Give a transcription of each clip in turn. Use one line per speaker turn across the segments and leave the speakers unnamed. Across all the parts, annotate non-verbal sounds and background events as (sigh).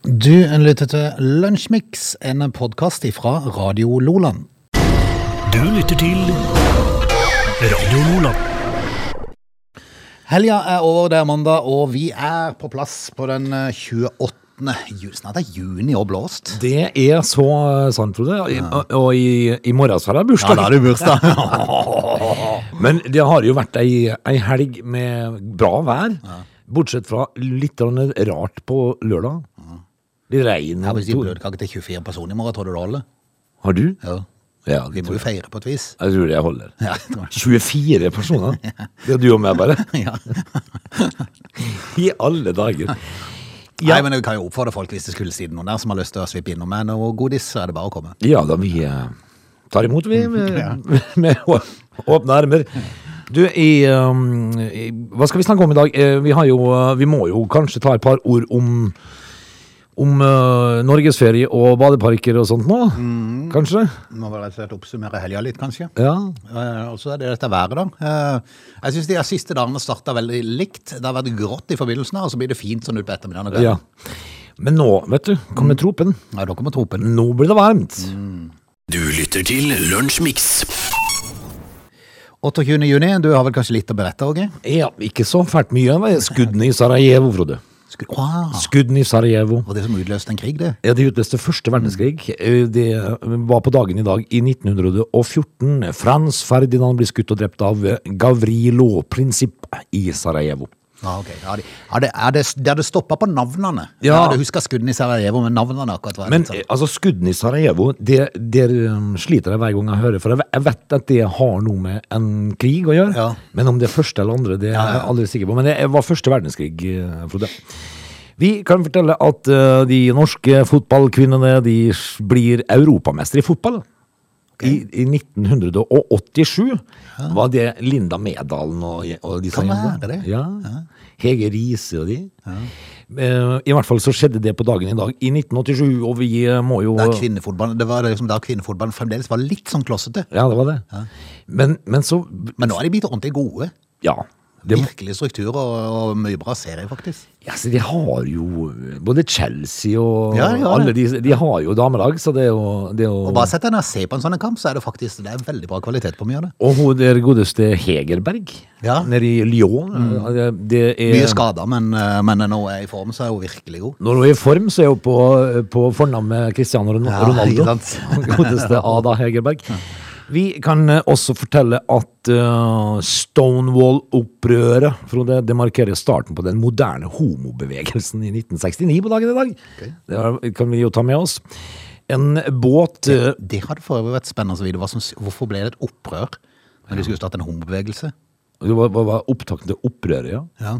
Du lytter til Lunsjmix, en podkast fra Radio Loland.
Du lytter til Radio Nordland.
Helga er over, det er mandag, og vi er på plass på den eh, 28. juni. Snart er juni og blåst.
Det er så eh, sant, Frode. I- Og i, i morgen så er det bursdag.
du (laughs) bursdag.
Men det har jo vært ei, ei helg med bra vær. Bortsett fra litt grann rart på lørdag. Litt regn.
Her vil si
to-
bløtkake til 24 personer i morgen, tror du det holder?
Har du?
Ja.
Ja,
Vi
det
må
tror
jo
jeg.
feire på et vis.
Jeg tror det jeg holder.
Ja, jeg tror det.
24
(laughs)
personer. Det er du og meg, bare.
Ja.
I alle
(laughs)
dager.
Nei, men Vi kan jo oppfordre folk hvis det skulle sitte noen der som har lyst til å svippe innom med noe godis, så er det bare å komme.
Ja da, vi eh, tar imot, vi, med, (laughs) med å- åpne armer. Du, i, um, i, hva skal vi snakke om i dag? Eh, Vi, har jo, eh, vi må jo kanskje ta et par ord om, om eh, norgesferie og badeparker og sånt nå? Kanskje?
Må vel rett og slett oppsummere helga litt, kanskje.
Ja.
Eh, Og så er det dette været, da. Eh, Jeg syns de her siste dagene starta veldig likt. Det har vært grått i forbindelsen, her, og så blir det fint sånn utpå ettermiddagen. og kvelden.
ja. Men nå, vet du, kommer tropen.
Ja, dere må tro på den.
Nå blir det varmt.
Du lytter til Lunsjmix.
28. juni, du har vel kanskje litt å berette, Åge?
Ja, ikke så fælt mye av det. skuddene i Sarajevo, Frode.
Sku- Wow.
Skuddene i Sarajevo.
Var det som utløste en krig, det?
Ja, Det utløste første verdenskrig. Eh, Det var på dagen i dag i 1914. Frans Ferdinand ble skutt og drept av Gavrilo Prinsipp i Sarajevo.
Ja, ok. Ja, de, ja, det, er det, det hadde stoppa på navnene.
Ja.
Jeg hadde huska skuddene i Sarajevo, men navnene akkurat var
Men
litt sånn.
eh, altså, skuddene i Sarajevo, det, der eh, sliter jeg hver gang jeg hører. For jeg ve- jeg vet at det har noe med en krig å gjøre.
Ja.
Men om det er første eller andre, det er jeg aldri sikker på. Men det var første verdenskrig, eh, Frode. Vi kan fortelle at eh, de norske fotballkvinnene de s- blir europamestere i fotball. I, I 1987 var det Linda Medalen og, og disse
Kan
jentene.
være det.
Ja. Hege Riise og de. Eh, I hvert fall så skjedde det på dagen i dag i 1987, og vi eh, må jo
Da kvinnefotballen, det var liksom da kvinnefotballen fremdeles var litt sånn klossete.
Ja, det var det. Men, men så
Men nå er de blitt ordentlig gode.
Ja. Det,
Virkelig struktur og, og mye bra serie, faktisk.
altså, de har jo eh, både Chelsea og
Ja, de har det.
alle de De har jo damelag, så det er jo, det er jo
Og bare sett deg ned og se på en sånn en kamp, så er det faktisk det er veldig bra kvalitet på mye av det.
Og hun der godeste Hegerberg,
Ja. Mm.
nede i Lyon. Det- Det er,
Mye skader, men, eh, men når hun er i form, så er hun virkelig god.
Når hun er i form, så er hun på, på fornavn med Cristiano Ron-
Ja,
Ronaldo. (laughs)
ikke sant?
Godeste Ada Hegerberg. Vi kan eh, også fortelle at eh, Stonewall-opprøret Frode, det markerer starten på den moderne homobevegelsen i 1969 på dagen i dag. Det har- kan vi jo ta med oss. En båt eh,
Det hadde for øvrig vært spennende å vite. hva som- Hvorfor ble det et opprør når de skulle starte en homobevegelse?
Det var, var, var opptakten til opprøret, ja.
Ja.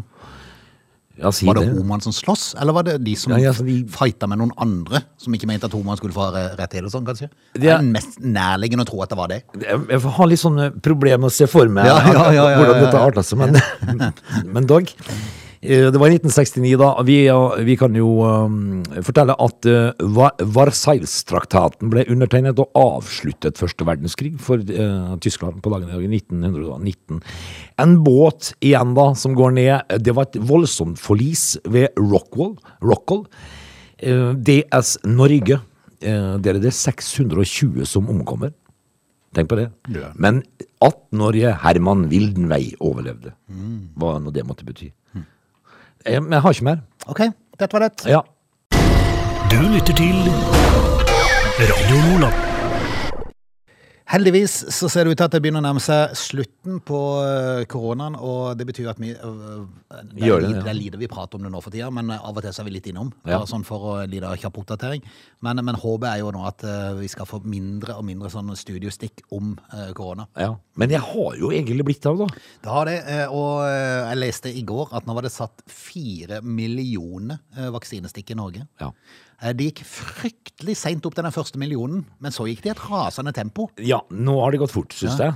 ja si
Var det
det.
homoene som sloss, eller var det de som
Ja, ja, så de-
fighta med noen andre som ikke mente at homoene skulle få re- rett til det sånn, kanskje? Det
Ja.
er mest nærliggende å tro at det var det.
jeg, jeg har litt sånne problemer med å se for meg
Ja, ja, ja, ja,
hvordan
ja, ja.
dette arter seg, men,
(laughs)
men dog. Eh, Det var i 1969, da. Vi, eh, vi kan jo um, fortelle at eh, Va- Versailles-traktaten ble undertegnet og avsluttet første verdenskrig for eh, Tyskland på dagen i dag i 1919. En båt igjen, da, som går ned. Det var et voldsomt forlis ved Rockwell. Rockall. Eh, DS Norge. eh, Der er det 620 som omkommer. Tenk på det.
Ja.
Men 18-årige Herman Wildenvei overlevde.
Mm.
Hva nå det måtte bety. Eh, Men jeg har ikke mer.
Ok, dette var det.
Ja.
Du lytter til Radio Nordland.
Heldigvis så ser det ut til at det begynner å nærme seg slutten på øh, koronaen, og det betyr at vi øh, det,
Gjør
er
det,
lite,
ja.
det er lite vi prater om det nå for tida, men øh, av og til så er vi litt innom.
Ja.
Bare sånn for å lide kjapp oppdatering. Men, men håpet er jo nå at øh, vi skal få mindre og mindre sånn studiostikk om øh, korona.
ja. Men jeg har jo egentlig blitt av, da.
Det har det, øh, og øh, jeg leste i går at nå var det satt fire millioner øh, vaksinestikk i Norge.
Ja.
Eh, Det gikk fryktelig seint opp til den første millionen, men så gikk det i et rasende tempo.
ja nå har det gått fort, syns jeg.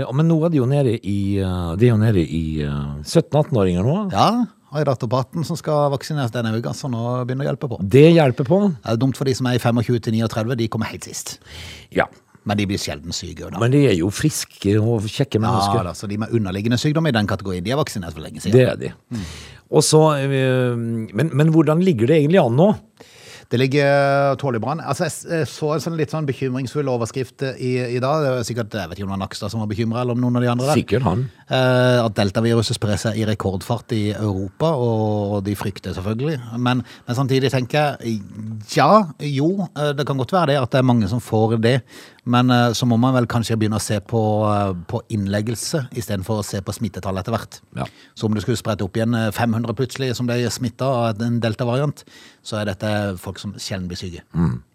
Eh, Men nå er det jo nede i, eh, det er jo nede i eh, 17-18-åringer nå.
Ja, har jeg datterparten som skal vaksineres denne uka, så nå begynner å hjelpe på.
Det hjelper på.
Det er dumt for de som er i 25 til 39, de kommer helt sist.
Ja.
Men de blir sjelden syke. jo Da.
Men de er jo friske og kjekke
Ja,
mennesker.
da, så de med underliggende sykdom i den kategorien, de er Mm. vaksinert for lenge siden.
Det er de. Og så, eh, men, men hvordan ligger det egentlig an nå?
Det ligger tålelig bra an. Altså, jeg s- jeg så en sånn litt sånn bekymringsfull overskrift eh, i, i dag. Det var sikkert, Jeg vet ikke om det var Nakstad som var bekymra, eller om noen av de andre. der.
Sikkert han.
Eh, At deltaviruset sprer seg i rekordfart i Europa, og de frykter selvfølgelig. Men, men samtidig tenker jeg ja, jo, eh, det kan godt være det at det er mange som får det. Men eh, så må man vel kanskje begynne å se på, eh, på innleggelse istedenfor å se på smittetall etter hvert.
Ja.
Så om du skulle sprette opp igjen eh, 500 plutselig som ble smitta av en delta-variant, så er dette folk som sjelden blir syke.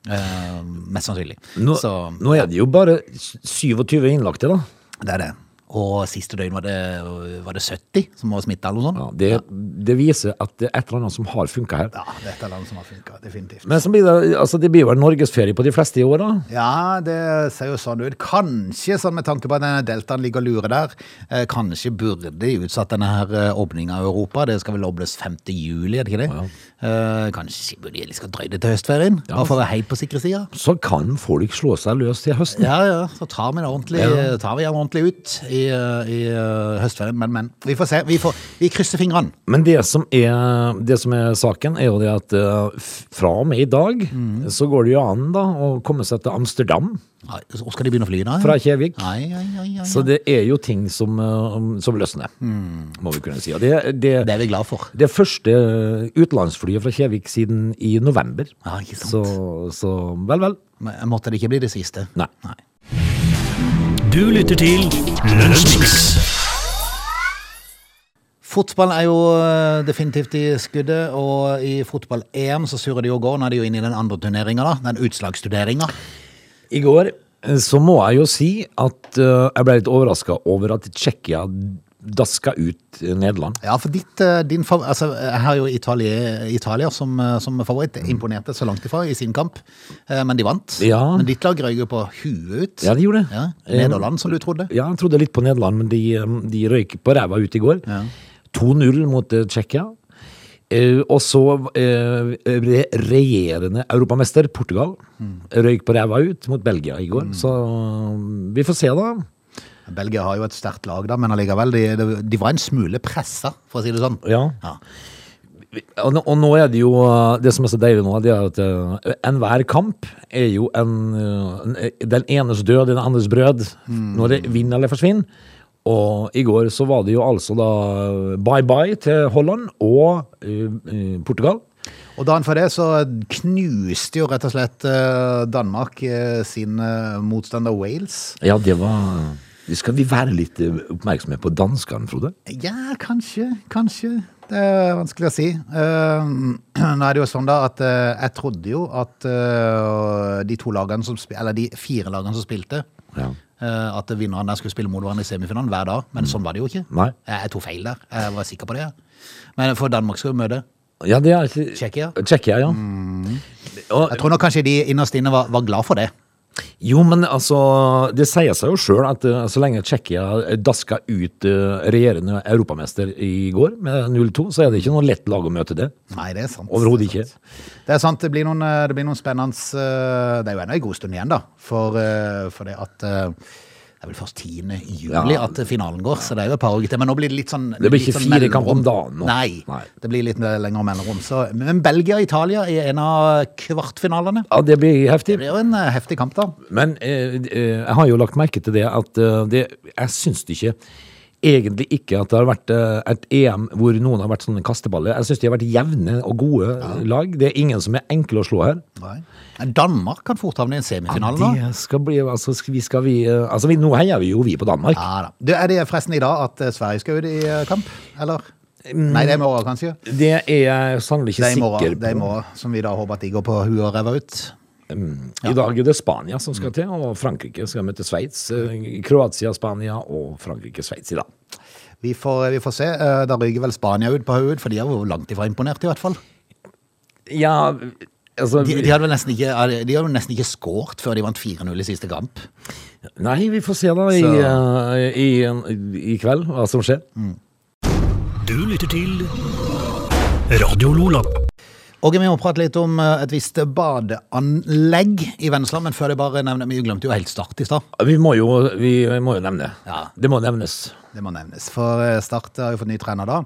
Eh, mest sannsynlig.
Mm. Nå,
så
nå er det jo bare s- 27 innlagte, da.
det er det. Og siste døgn var det, var det 70 som var smitta eller noe sånt.
Ja, det, det viser at det er et eller annet som har funka her.
Ja, dette er land som har funka, definitivt.
Men så blir det, altså, det blir vel norgesferie på de fleste i år, da.
Ja, det ser jo sånn ut. Kanskje, sånn med tanke på at denne deltaen ligger og lurer der, eh, kanskje burde de utsatt denne her åpninga av Europa. Det skal vel åpnes 5. juli, er det ikke det? Eh, Kanskje burde de skal drøye det til høstferien? Bare for å være helt på sikre sida?
Så kan folk slå seg løs til høsten.
Ja, ja. Så tar vi det ordentlig,
Ja.
tar vi det ordentlig ut i, eh, i eh, høstferien. Men, men. Vi får se. Vi, får, vi krysser fingrene.
Men det som, er, det som er saken, er jo det at eh, f- fra og med i dag
Mm.
så går det jo an da å komme seg til Amsterdam
Nei, så Skal de begynne å fly nå?
fra Kjevik.
Ai, ai, ai, ai.
Så det er jo ting som, eh, som løsner,
Mm.
må vi kunne si. Og det, det,
Det er vi glad for.
Det første utenlandsflyet fra Kjevik siden i november.
Ja, ikke sant.
Så, så vel, vel.
Men Måtte det ikke bli det siste?
Nei.
Nei.
Du lytter til Lunsjmix.
Fotball er jo eh, definitivt i skuddet, og i fotball-EM så surrer det jo og går. Nå er det jo inne i den andre turneringa, da. Den utslagsturneringa.
I går eh, så må jeg jo si at eh, jeg ble litt overraska over at Tsjekkia daska ut eh, Nederland.
Ja, for ditt, eh, din fav altså, jeg har jo Italia, Italia som, eh, som favoritt. Imponerte så langt ifra i sin kamp, eh, men de vant.
Ja.
Men ditt lag røyk jo på huet ut.
Ja, de gjorde det.
Ja, Nederland, som du trodde.
Ja, jeg trodde litt på Nederland, men de, eh, de røyk på ræva ut i går. 2-0 mot eh, Tsjekkia. Eh, og så eh, re- regjerende europamester Portugal
Mm.
røyk på ræva ut mot Belgia i går. Så eh, vi får se, da.
Belgia har jo et sterkt lag, da, men allikevel, de, de, de var en smule pressa, for å si det sånn.
Ja.
Ja.
Og nå- og nå er det jo eh, Det som er så deilig nå, det er at eh, enhver kamp er jo en eh, en- Den enes død, den andres brød. Når det vinner eller forsvinner. Og i går så var det jo altså da bye-bye til Holland og eh, eh, Portugal.
Og dagen før det så knuste jo rett og slett eh, Danmark eh, sin eh, motstander Wales.
Ja, det var det Skal vi være litt eh, oppmerksomme på danskene, Frode?
Ja, kanskje, kanskje. Det er vanskelig å si. Eh, (clears throat) nå er det jo sånn da at eh, jeg trodde jo at eh, de to lagene som spil- eller de fire lagene som spilte,
Ja.
eh, at vinneren der skulle spille mot hverandre i semifinalen hver dag, men sånn var det jo ikke.
Mm. Nei.
Jeg, jeg tok feil der, jeg var sikker på det. Men for Danmark skal jo møte
Ja, det er ikke
Tsjekkia.
Tsjekkia, Mm. ja. Og,
Jeg tror nok kanskje de innerst inne var, var glad for det.
Jo, men altså, det sier seg jo sjøl at eh, så lenge Tsjekkia daska ut eh, regjerende europamester i går med 0-2, så er det ikke noe lett lag å møte det.
Nei, det er sant.
Overhodet ikke.
Det er sant, det blir noen, eh, det blir noen spennende eh, Det er jo ennå en god stund igjen, da. For, eh, for det at eh, Det er vel først 10. juli
Ja.
at finalen går, så det er jo et par uker til. Men nå blir det litt sånn
Det blir
litt
ikke
sånn
fire kamper om
mellomrom.
dagen nå.
Nei,
Nei.
Det blir litt lengre mellomrom. Så, men Belgia og Italia er en av kvartfinalene.
Ja, det blir heftig.
Det blir jo en eh, heftig kamp, da.
Men eh, eh, jeg har jo lagt merke til det at eh, det, jeg syns det ikke Egentlig ikke at det har vært eh, et EM hvor noen har vært sånne kasteballer. Jeg syns de har vært jevne og gode eh, lag. Det er ingen som er enkle å slå her.
Nei. Danmark kan fort havne i en semifinale nå.
det skal bli, altså, skal vi, skal vi, eh, altså vi, nå heier vi jo vi på Danmark.
Ja da. Du, er det forresten i dag at eh, Sverige skal ut i eh, kamp, eller?
Mm.
Nei, det er i morgen, kanskje.
Det er jeg sannelig ikke
Det er i
sikker
morgen,
på.
det er i morgen, som vi da håper at de går på huet og ræva ut.
I dag er det Spania som skal til, og Frankrike skal møte Sveits. Eh, Kroatia, Spania og Frankrike-Sveits i dag.
Vi får, vi får se. Eh, Da ryker vel Spania ut på hodet, for de er jo langt ifra imponert, i hvert fall.
Ja, altså
De, de hadde vel nesten ikke, de hadde jo nesten ikke skåret før de vant 4-0 i siste kamp.
Nei, vi får se da i, eh, i, i kveld hva som skjer.
Du lytter til Radio Lola.
Og vi må prate litt om eh, et visst badeanlegg i Vennesla, men før det bare nevner Vi glemte jo helt Start i stad,
Vi må jo, vi må jo nevne.
Ja.
Det må nevnes.
det må nevnes. For eh, Start har jo fått ny trener da.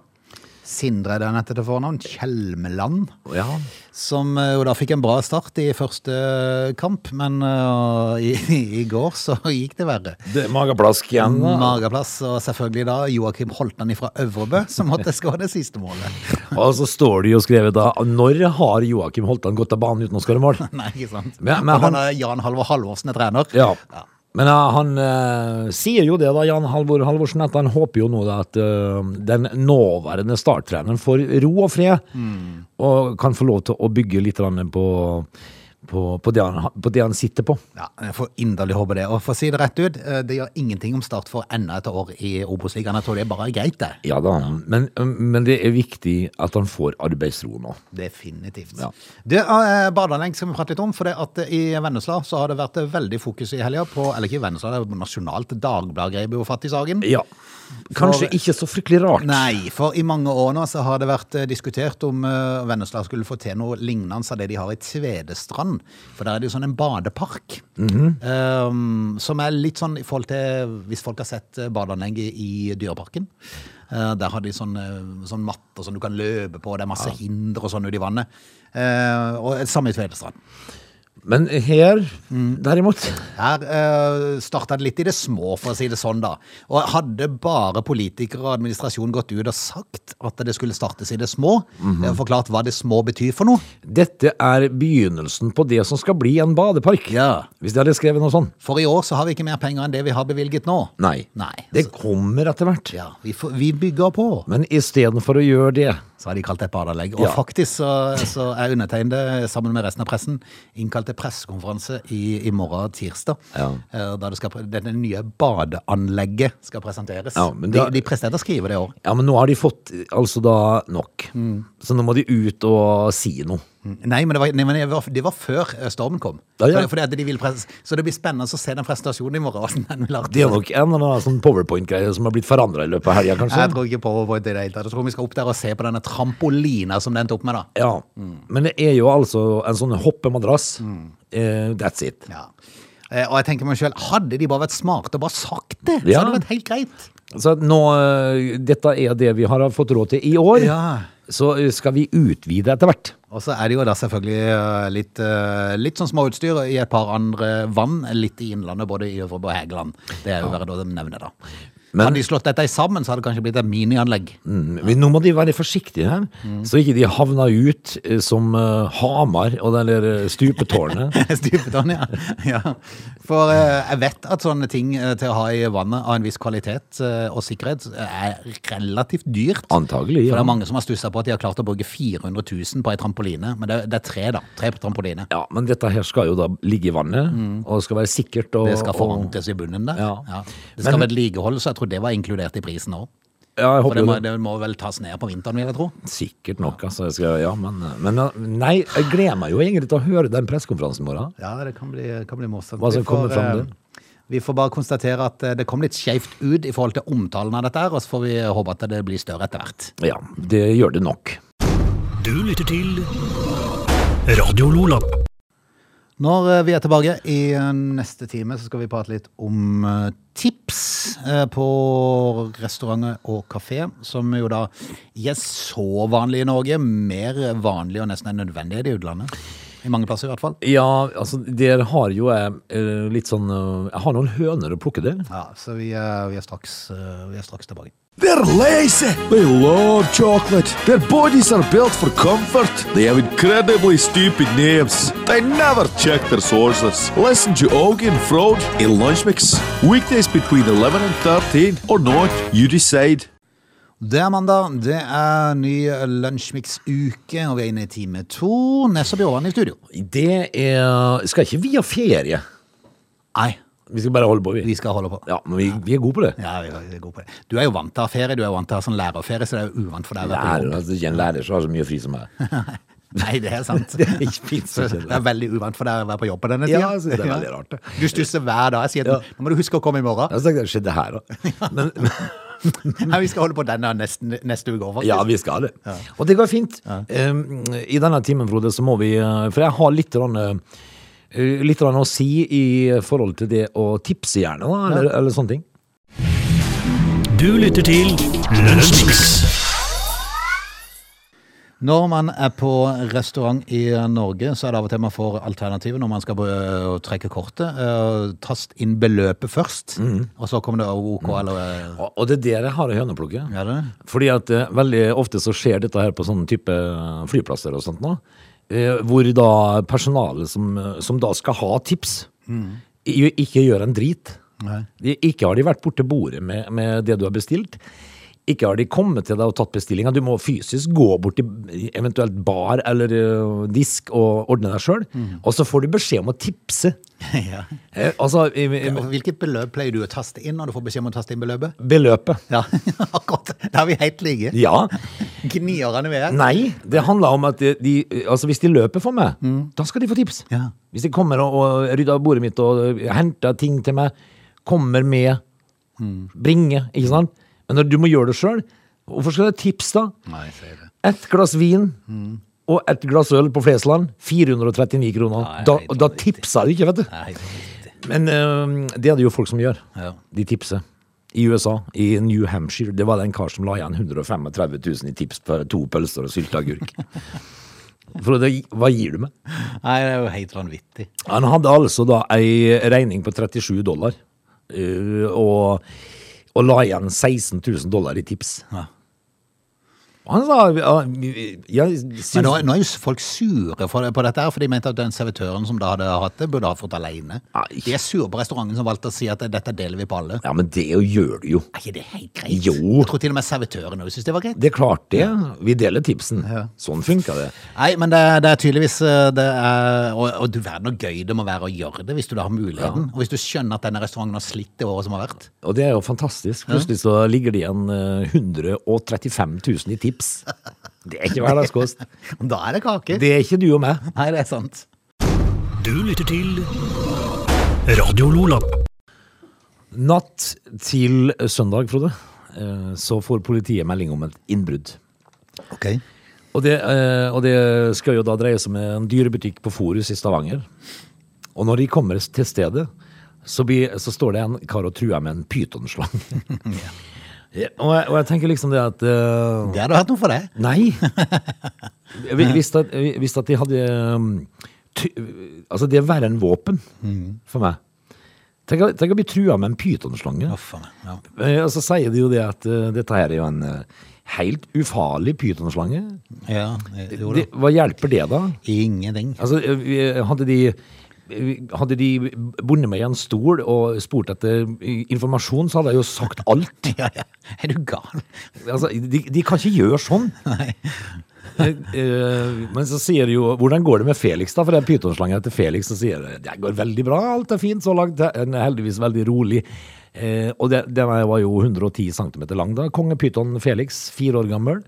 Sindre der nette til fornavn, Kjelmeland,
Ja.
som eh, jo da fikk en bra start i første kamp, men eh, (laughs) i, i går så gikk det verre.
Det er mageplask igjen. da.
Mageplass, og selvfølgelig da Joakim Holtan fra Øvrebø, som måtte skåre det siste målet. (laughs)
Og så står det jo skrevet da Når har Joakim Holtan gått av banen uten å skåre mål?
Nei, ikke sant?
Men- men
og
han-
denne Jan Halvor Halvorsen er trener.
Ja. Men eh, han eh, sier jo det, da, Jan Halvor Halvorsen, at han håper jo nå da at eh, den nåværende starttreneren får ro og fred, Mm. og kan få lov til å bygge litt grann på, på, på, det han, på det han sitter på.
Ja, jeg får inderlig håpe det. Og for å si det rett ut, eh, det gjør ingenting om Start får enda et år i Obos-ligaen. Jeg tror det er bare greit, det.
Ja da, men, men det er viktig at han får arbeidsro nå.
Definitivt.
Ja.
Det er badeanlegg skal vi prate litt om, for det at eh, i Vennesla så har det vært eh, veldig fokus i helga på, eller ikke i Vennesla, det er jo nasjonalt dagbladgrep jo fatt i saken.
Ja. Kanskje
For-
ikke så fryktelig rart.
Nei, for i mange år nå så har det vært eh, diskutert om eh, Vennesla skulle få til noe lignende av det de har i Tvedestrand. For der er det jo sånn en badepark. eh, som er litt sånn i forhold til Hvis folk har sett eh, badeanlegget i Dyreparken. eh, der har de sånn, eh, sånn matter som du kan løpe på, og det er masse hinder og sånn ute i vannet. Eh, og samme i Tvedestrand.
Men her, derimot
Her uh, starta det litt i det små, for å si det sånn, da. Og hadde bare politikere og administrasjon gått ut og sagt at det skulle startes i det små,
Mhm.
eh, forklart hva det små betyr for noe
Dette er begynnelsen på det som skal bli en badepark.
Ja.
Hvis de hadde skrevet noe sånn.
For i år så har vi ikke mer penger enn det vi har bevilget nå.
Nei.
Nei. altså,
Det kommer etter hvert.
Ja, vi, får, vi bygger på,
Men istedenfor å gjøre det
så har de kalt det et badeanlegg. Og
Ja.
faktisk så, så er undertegnede, sammen med resten av pressen, innkalt til pressekonferanse i, i morgen, tirsdag.
Ja.
eh, Da det skal, pre- dette nye badeanlegget skal presenteres.
Ja, men da-
de, de presterte å skrive det i år.
Ja, men nå har de fått eh, altså da nok.
Mm.
Så nå må de ut og si noe.
Nei, men det var, nei, men det var, det var før eh, stormen kom.
Ja, ja.
Fordi- Fordi at de ville pres- så det blir spennende å se den presentasjonen i morgen. (laughs) hvordan Den vil arten.
Det er nok en eller annen sånn powerpoint-greie som har blitt forandra i løpet av helga, kanskje.
Jeg tror ikke på på det i det hele tatt. Jeg tror vi skal opp der og se på denne trampolina som det endte opp med, da.
Ja.
Mm.
Men det er jo altså en sånn hoppemadrass. Eh, that's it.
Ja. Eh, Og jeg tenker meg selv, hadde de bare vært smarte og bare sagt det, så
Ja.
hadde det vært helt greit.
Så at nå, eh, dette er det vi har fått råd til i år.
Ja.
Så eh, skal vi utvide etter hvert.
Og så er det jo da selvfølgelig eh, litt, eh, litt sånn småutstyr i et par andre vann, litt i innlandet, både i Øvrebø og Hægeland. Det er jo verdt å nevne, da.
Men-
hadde de slått dette sammen, så hadde det kanskje blitt et minianlegg.
Mm, men nå må de være forsiktige her,
Mm.
så ikke de havner ut eh, som eh, Hamar og det der
(laughs)
eh, stupetårnet.
Stupetårn, ja. ja. For eh, jeg vet at sånne ting eh, til å ha i vannet av en viss kvalitet eh, og sikkerhet er relativt dyrt.
Antagelig,
For
ja.
det er mange som har stussa på at de har klart å bruke 400 000 på ei trampoline. Men det, det er tre, da. Tre på trampoline.
Ja, men dette her skal jo da ligge i vannet, og skal være sikkert. Og,
Mm. Det skal
og-
forankres i bunnen der.
Ja.
Det skal
Men-
vedlikeholdes, så jeg tror det var inkludert i prisen òg.
Ja, jeg
For
håper
det
jo
må,
det.
det må vel tas ned på vinteren, vil jeg tro.
Sikkert nok, altså. Jeg skal, ja, men, men eh, nei, jeg gleder meg jo egentlig til å høre den pressekonferansen i morgen.
Ja, det kan bli, kan bli morsomt.
Hva som
Vi får,
kommer frem
eh,
der.
Vi får bare konstatere at eh, det kom litt skjevt ut i forhold til omtalen av dette, her, og så får vi håpe at det blir større etter hvert.
Ja, det gjør det nok.
Du lytter til Radio Lola.
Når eh, vi er tilbake i eh, neste time, så skal vi prate litt om eh, tips eh, på restauranter og kafé, som jo da ikke er så vanlig i Norge. Mer vanlig og nesten er nødvendig i det utlandet. I mange plasser i hvert fall.
Ja, altså, der har jo jeg eh, litt sånn eh, Jeg har noen høner å plukke der.
Ja, så vi er, vi er, straks, eh, vi er straks tilbake.
They're lazy. They love chocolate. Their bodies are built for comfort. They have incredibly stupid names. They never check their sources. Listen to Augie and Frode in Lunch Mix. Weekdays between 11 and 13 or not, you decide.
Det er mandag, det er ny Lunsjmix-uke, og vi er inne i time to. Nessa Bjørland i studio.
Det er Skal ikke vi ha ferie?
Nei,
Vi skal bare holde på, vi.
vi skal holde på.
Ja, men vi, vi er gode på det.
Ja, vi er gode på det. Du er jo vant til å ha ferie, du er jo vant til å ha sånn lærerferie, så det er jo uvant for deg å være på
Lærer, altså, ikke en lærer som har så mye fri som meg.
jobb. Nei, (laughs) det er sant.
Det er ikke fint
Så
å
det
kjenne.
er veldig uvant for deg å være på jobb på denne tida.
Ja, altså, det er veldig rart. det.
Du stusser hver dag. Jeg sier at nå må du huske å komme i morgen.
Jeg tenkte, skjedde
(laughs)
her da? Men,
Nei, vi skal holde på denne neste, neste uke òg, faktisk.
ja, vi skal det. Og det går fint. Um, I denne timen, Frode, så må vi uh, For jeg har litt, grann, uh, litt grann å si i forhold til det å tipse gjerne, da, eller, eller sånne ting.
Du lytter til Lunsjmix.
Når man er på restaurant i Norge, så er det av og til man får alternativet når man skal øh, trekke kortet. øh, Tast inn beløpet først, og så kommer det OK eller øh,
Og og det er der jeg har høneplukket.
Er det?
Fordi at eh, veldig ofte så skjer dette her på sånne type flyplasser og sånt nå, eh, hvor da personalet som, eh, som da skal ha tips, i- ikke gjør en drit.
Nei.
De, ikke har de vært borte bordet med, med det du har bestilt. Ikke har de kommet til deg og tatt bestillinga. Du må fysisk gå bort til eventuelt bar eller eh, disk og ordne deg sjøl. Og så får du beskjed om å tipse.
(laughs) ja.
Eh, altså i- i-
Og Hvilket beløp pleier du å taste inn når du får beskjed om å taste inn beløpet?
beløpet.
Ja, (laughs) akkurat. Der er vi helt like.
Ja.
Gnierne vi er.
Nei, det handler om at de, altså hvis de løper for meg, da skal de få tips.
Ja.
Hvis de kommer og, og rydder av bordet mitt og øh, henter ting til meg, kommer med, bringer, ikke sant? Men når du må gjøre det sjøl, hvorfor skal du ha tips da?
Nei, sier det.
Ett glass vin
Mm.
og ett glass øl på Flesland, 439 kroner.
Nei,
da,
helt
da
vanvittig.
tipsa de ikke, vet du.
Nei, riktig.
Men øhm, det er det jo folk som gjør.
Ja.
De tipser. I USA, i New Hampshire, det var det en kar som la igjen 135 000 i tips for to pølser
(laughs)
og sylteagurk. For det, hva gir du meg?
Nei, det er jo helt vanvittig.
Han hadde altså da ei regning på 37 dollar, øh, og, og la igjen 16 000 dollar i tips.
Ja.
Og han sa ja, jeg syns
Men nå, nå er jo folk sure for, på dette her, for de mente at den servitøren som da hadde hatt det, burde ha fått alene.
Nei.
De er sure på restauranten som valgte å si at dette deler vi på alle.
Ja, men det jo gjør du jo.
Er ikke det helt greit?
Jo.
Jeg tror til og med servitøren også syntes det var greit.
Det er klart, det. Vi deler tipsen.
Ja.
Sånn funka det.
Nei, men det, er- det er tydeligvis eh, det er, og, og du verden hvor gøy det må være å gjøre det hvis du da har muligheten. Og hvis du skjønner at denne restauranten har slitt det året som har vært. (laughs)
Og det er jo fantastisk. Plutselig så ligger det igjen eh, 135 000 i tips. Det er ikke hverdagskost.
Da er det kake.
Det er ikke du og meg.
Nei, det er sant.
Du lytter til Radio Lola.
Natt til søndag, Frode, eh, så får politiet melding om et innbrudd.
Ok.
Og det, eh, og det skal jo da dreie seg om en dyrebutikk på Forus i Stavanger. Og når de kommer til stedet, så, blir, så står det en kar og truer med en pytonslang. Ja, og, jeg, og jeg tenker liksom det at eh,
Det hadde vært noe for deg.
Nei. Vi- Hvis at, hvis at de hadde um, ty, Altså, det er verre enn våpen for meg. Tenk, å- tenk å bli trua med en pytonslange.
Å, faen, ja.
Eh, Og så sier de jo det at eh, dette her er jo en eh, helt ufarlig pytonslange.
Ja, eh, jo da.
Det, hva hjelper det, da?
Ingenting.
Altså, eh, vi- hadde de eh, hadde de bundet meg i en stol og spurt etter informasjon, så hadde jeg jo sagt alt.
(laughs) Ja, ja. Er du gal?
Altså, de, de kan ikke gjøre
(laughs)
sånn. Eh, eh, Men så sier de jo Hvordan går det med Felix, da? For det er pytonslangen til Felix som sier de, det går veldig bra, alt er fint så langt. Den er heldigvis veldig rolig. Eh, og det, den her var jo 110 cm lang, da. Kongepyton Felix, fire år gammel.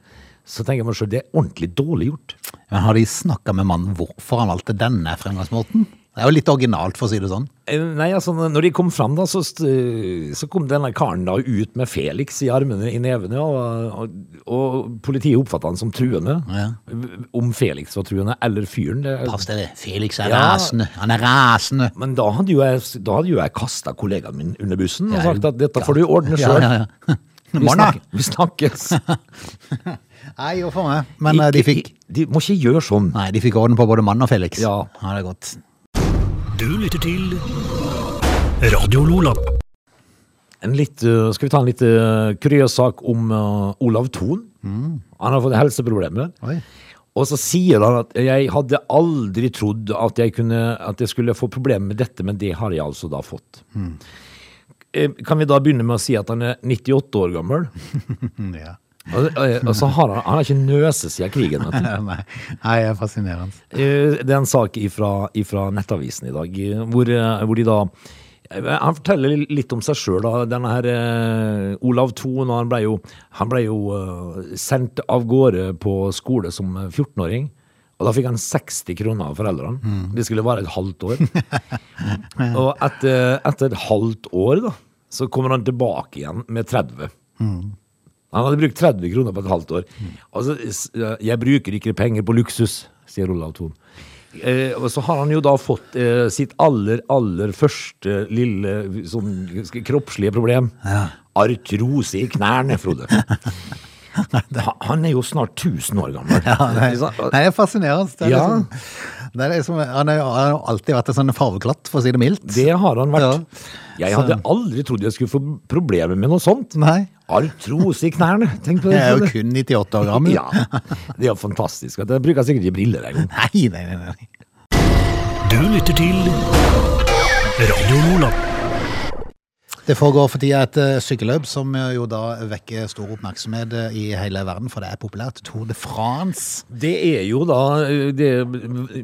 Så tenker jeg meg sjøl, det er ordentlig dårlig gjort.
Men har de snakka med mannen hvorfor han valgte denne fremgangsmåten? Det er jo litt originalt, for å si det sånn.
Eh, Nei, altså, når de kom fram da, så, st- så kom denne karen da ut med Felix i armene i nevene, og, og, og politiet oppfattet han som truende.
Ja.
Om Felix var truende, eller fyren. Det,
Pass dere, Felix er
Ja.
rasende. Han er rasende.
men da hadde jo jeg, da hadde jo jeg kastet kollegaen min under bussen og
Ja,
sagt at dette får du
ja.
ordne
(laughs) Ja,
selv.
ja, ja.
(laughs) Vi,
Morna.
snakkes- vi snakkes.
Nei, jo for meg. (laughs) Men eh, de
Ikke-
fikk
De må ikke gjøre sånn.
Nei, de fikk orden på både mann og Felix.
Ja.
ja det er godt.
Du lytter til Radio Lola.
En litt, eh, skal vi ta en litt eh, kuriøs sak om eh, Olav Thon?
Mm.
Han har fått helseproblemer.
Oi.
Og så sier han at jeg hadde aldri trodd at jeg, kunne, at jeg skulle få problemer med dette, men det har jeg altså da fått. Eh, Kan vi da begynne med å si at han er 98 år gammel?
Mm, Ja. (laughs)
Og, eh, og så har han, han har ikke nøse siden krigen. Vet du.
Nei, Nei, det er fascinerende.
Eh, Det er en sak ifra, ifra Nettavisen i dag, eh, hvor, eh, hvor de da eh, han forteller litt om seg sjøl. Denne her eh, Olav Thon han ble jo, han ble jo eh, sendt av gårde på skole som 14-åring. Og da fikk han 60 kroner av foreldrene. Det skulle vare et halvt år. og etter, etter et halvt år, da, så kommer han tilbake igjen med 30.
Mm.
Han hadde brukt 30 kroner på et halvt år. Altså, s- jeg bruker ikke penger på luksus, sier Olav Thon. Eh, og så har han jo da fått eh, sitt aller, aller første
(laughs)
lille sånn, kroppslige problem. Artrose i knærne, Frode. Han- Han er jo snart 1000 år gammel.
Ja, nei,
Ikke sant?
nei, det er fascinerende. Det er
Ja.
liksom, det er liksom, han har jo- han har jo alltid vært en sånn farveklatt, for å si det mildt.
Det har han vært. Jeg
Så-
hadde aldri trodd jeg skulle få problemer med noe sånt.
Nei.
Artros i knærne, tenk på det.
Jeg er jo kun 98 år gammel.
Ja, det er jo fantastisk. Jeg bruker sikkert ikke briller engang.
Nei, nei, nei, nei.
Du lytter til Radio Lola.
Det foregår for tida et eh, sykkelløp som eh, jo da vekker stor oppmerksomhet eh, i hele verden, for det er populært. Tour de France.
Det er jo da, eh, det,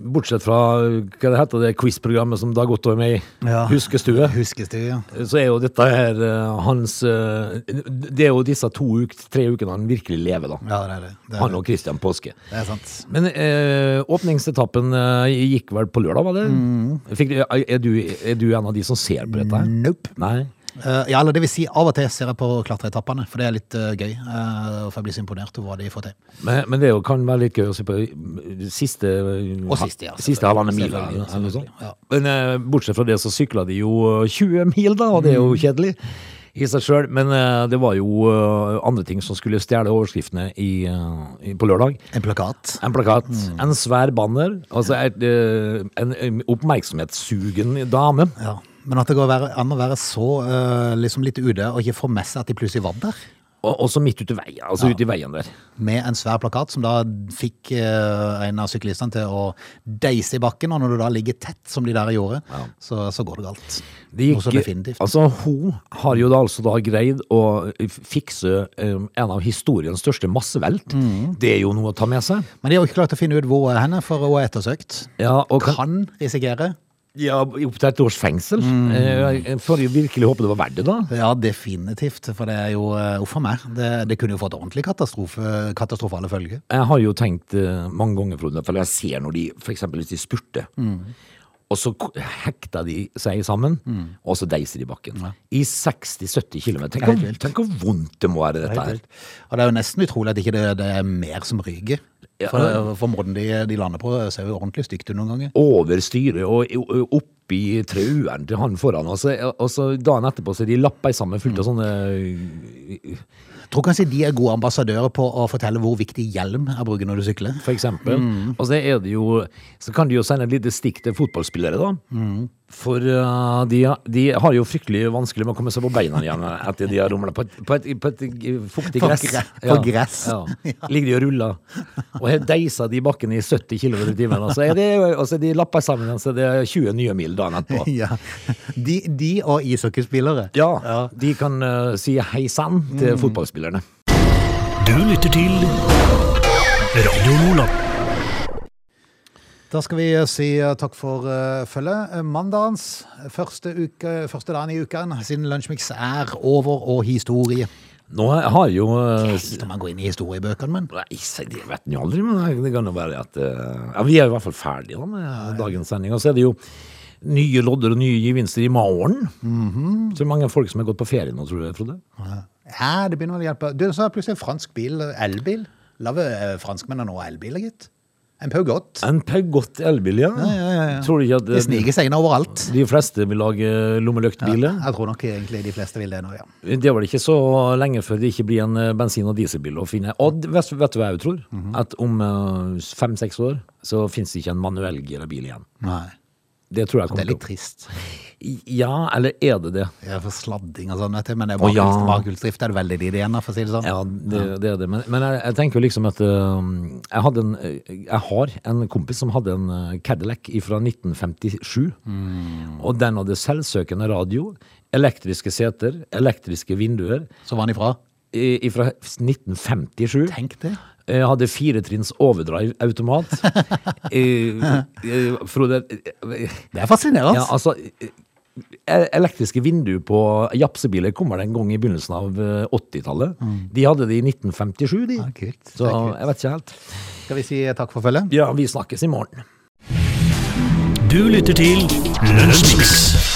bortsett fra eh, hva det heter, det quiz-programmet som Dag Otto er med i,
Ja.
Huskestue,
Huskes du, ja.
så er jo dette her eh, hans eh, Det er jo disse to uk tre ukene han virkelig lever, da.
Ja, det er det. Det er,
Han og Christian Påske.
det er sant.
Men eh, åpningsetappen eh, gikk vel på lørdag, var det?
Mm.
Fikk, eh, er, du, er du en av de som ser på dette? her?
Nope.
Nei.
Eh, ja, eller det vil si, av og til ser jeg på klatreetappene, for det er litt eh, gøy. eh, for jeg blir så imponert over hva de får til.
Men, men det er jo, kan være litt gøy å se på eh, siste
Og siste, ja,
siste halvannen mil.
selvfølgelig,
eller- eller noe sånt.
selvfølgelig, ja.
Men eh, bortsett fra det, så sykla de jo eh, 20 mil, da, og det er jo
Mm.
kjedelig i seg sjøl. Men eh, det var jo eh, andre ting som skulle stjele overskriftene i, eh, i, på lørdag.
En plakat.
En plakat,
Mm.
en svær banner, altså et, eh, en, en oppmerksomhetssugen dame.
Ja. Men at det går være- an å være så eh, liksom litt ute og ikke få med seg at de plutselig var der.
Og også midt ute i veien, altså ute i veien der.
med en svær plakat som da fikk eh, en av syklistene til å deise i bakken, og når du da ligger tett som de der gjorde, så, så går det galt.
Det
Noe så definitivt.
altså, hun har jo da altså da greid å fikse em, en av historiens største massevelt.
Mm.
Det er jo noe å ta med seg.
Men de har jo ikke klart å finne ut hvor er henne, for hun er ettersøkt.
Ja, og kan,
Kan Mm. risikere.
ja, opp til et års fengsel. Eh, Jeg får jo virkelig håpe det var verdt det, da.
Ja, definitivt, for det er jo eh, uff a meg. Det, det kunne jo fått ordentlig katastrofe, katastrofale følger.
Jeg har jo tenkt eh, mange ganger, Frode, for jeg ser når de for eksempel hvis de spurter,
Mm.
og så ko- hekter de seg sammen,
Mm.
og så deiser de bakken. I 60-70 km. Tenk,
Helt
hvor-
vilt.
tenk hvor vondt det må være, dette her.
Og det er jo nesten utrolig at ikke det, det er mer som ryker.
Ja.
For, for måten de, de lander på ser jo ordentlig stygt ut noen ganger.
over styret og i- og oppi traueren til han foran. Og så, og så dagen etterpå så er de lappa sammen fullt av sånne
Tror kanskje de er gode ambassadører på å fortelle hvor viktig hjelm er å bruke når du sykler.
for eksempel.
Mm.
Og så er det jo Så kan de jo sende et lite stikk til fotballspillere, da.
Mm.
For uh, de, de har jo fryktelig vanskelig med å komme seg på beina igjen etter de har rumla på, et- på, et- på et fuktig
På
gress.
gre- på
Ja,
gress. (laughs)
Ja. Ligger de og ruller. Og her deiser de bakken i 70 km i timen. Og så er de, og så er de lappa sammen igjen, så det er 20 nye mil dagen
(laughs)
etterpå.
Ja. De, de og ishockeyspillere.
Ja, Mm. de kan eh, si hei sann til fotballspillerne.
Du lytter til Radio Lola.
Da skal vi si eh, takk for eh, følget. Eh, Mandagens første, uke, første dagen i uken siden Lunsjmix er over og historie.
Nå har jo eh, s-
Når man går inn i historiebøkene, men
Nei, se, det vet en jo aldri, men det kan jo være at eh, ja, Vi er i hvert fall ferdige da med dagens sending. Og så er det jo nye lodder og nye gevinster i morgen. Så mange folk som har gått på ferie nå, tror du, Frode?
ja, det begynner vel å hjelpe. Du, så er det plutselig en fransk bil, eh, elbil. Lave eh, franskmennene nå elbiler, gitt. En Peugeot.
En Peugeot elbil, ja.
ja, ja, ja.
Tror du ikke at
De
eh,
sniker seg inn overalt.
de fleste vil lage lommelyktbiler?
Jeg tror nok egentlig de fleste vil det nå, ja.
Det var det ikke så lenge før det ikke blir en eh, bensin- og dieselbil å finne. Og d- vet, vet du hva jeg tror?
Mhm.
At om eh, fem-seks år så finnes det ikke en manuell gira bil igjen.
Nei.
Det tror jeg
Det er
kommer
litt
til å
trist.
Ja, eller er det det?
Ja, for sladding og sånn, vet du. Men det er
Å, ja.
bakhjulsdrift. Bakhjulsdrift er det veldig lite igjen av, for å si det sånn.
Ja, det, det er det. Men, men jeg, jeg tenker jo liksom at eh, jeg, hadde en, eh, jeg har en kompis som hadde en eh, Cadillac fra 1957.
Mm.
Og den hadde selvsøkende radio, elektriske seter, elektriske vinduer
Så var han ifra.
fra 1957.
Tenk det.
Jeg hadde firetrinns
(laughs)
overdrive-automat. eh, eh, Frode eh,
Det er fascinerende.
ja, altså, eh, eh, Elektriske vinduer på japsebiler kommer det en gang i begynnelsen av eh, 80-tallet. De hadde det i 1957, de.
Mm. Ja, kult. Det er
Så
kult.
jeg vet ikke helt.
Skal vi si takk for følget?
Ja, vi snakkes i morgen.
Du lytter til Lunsjmix.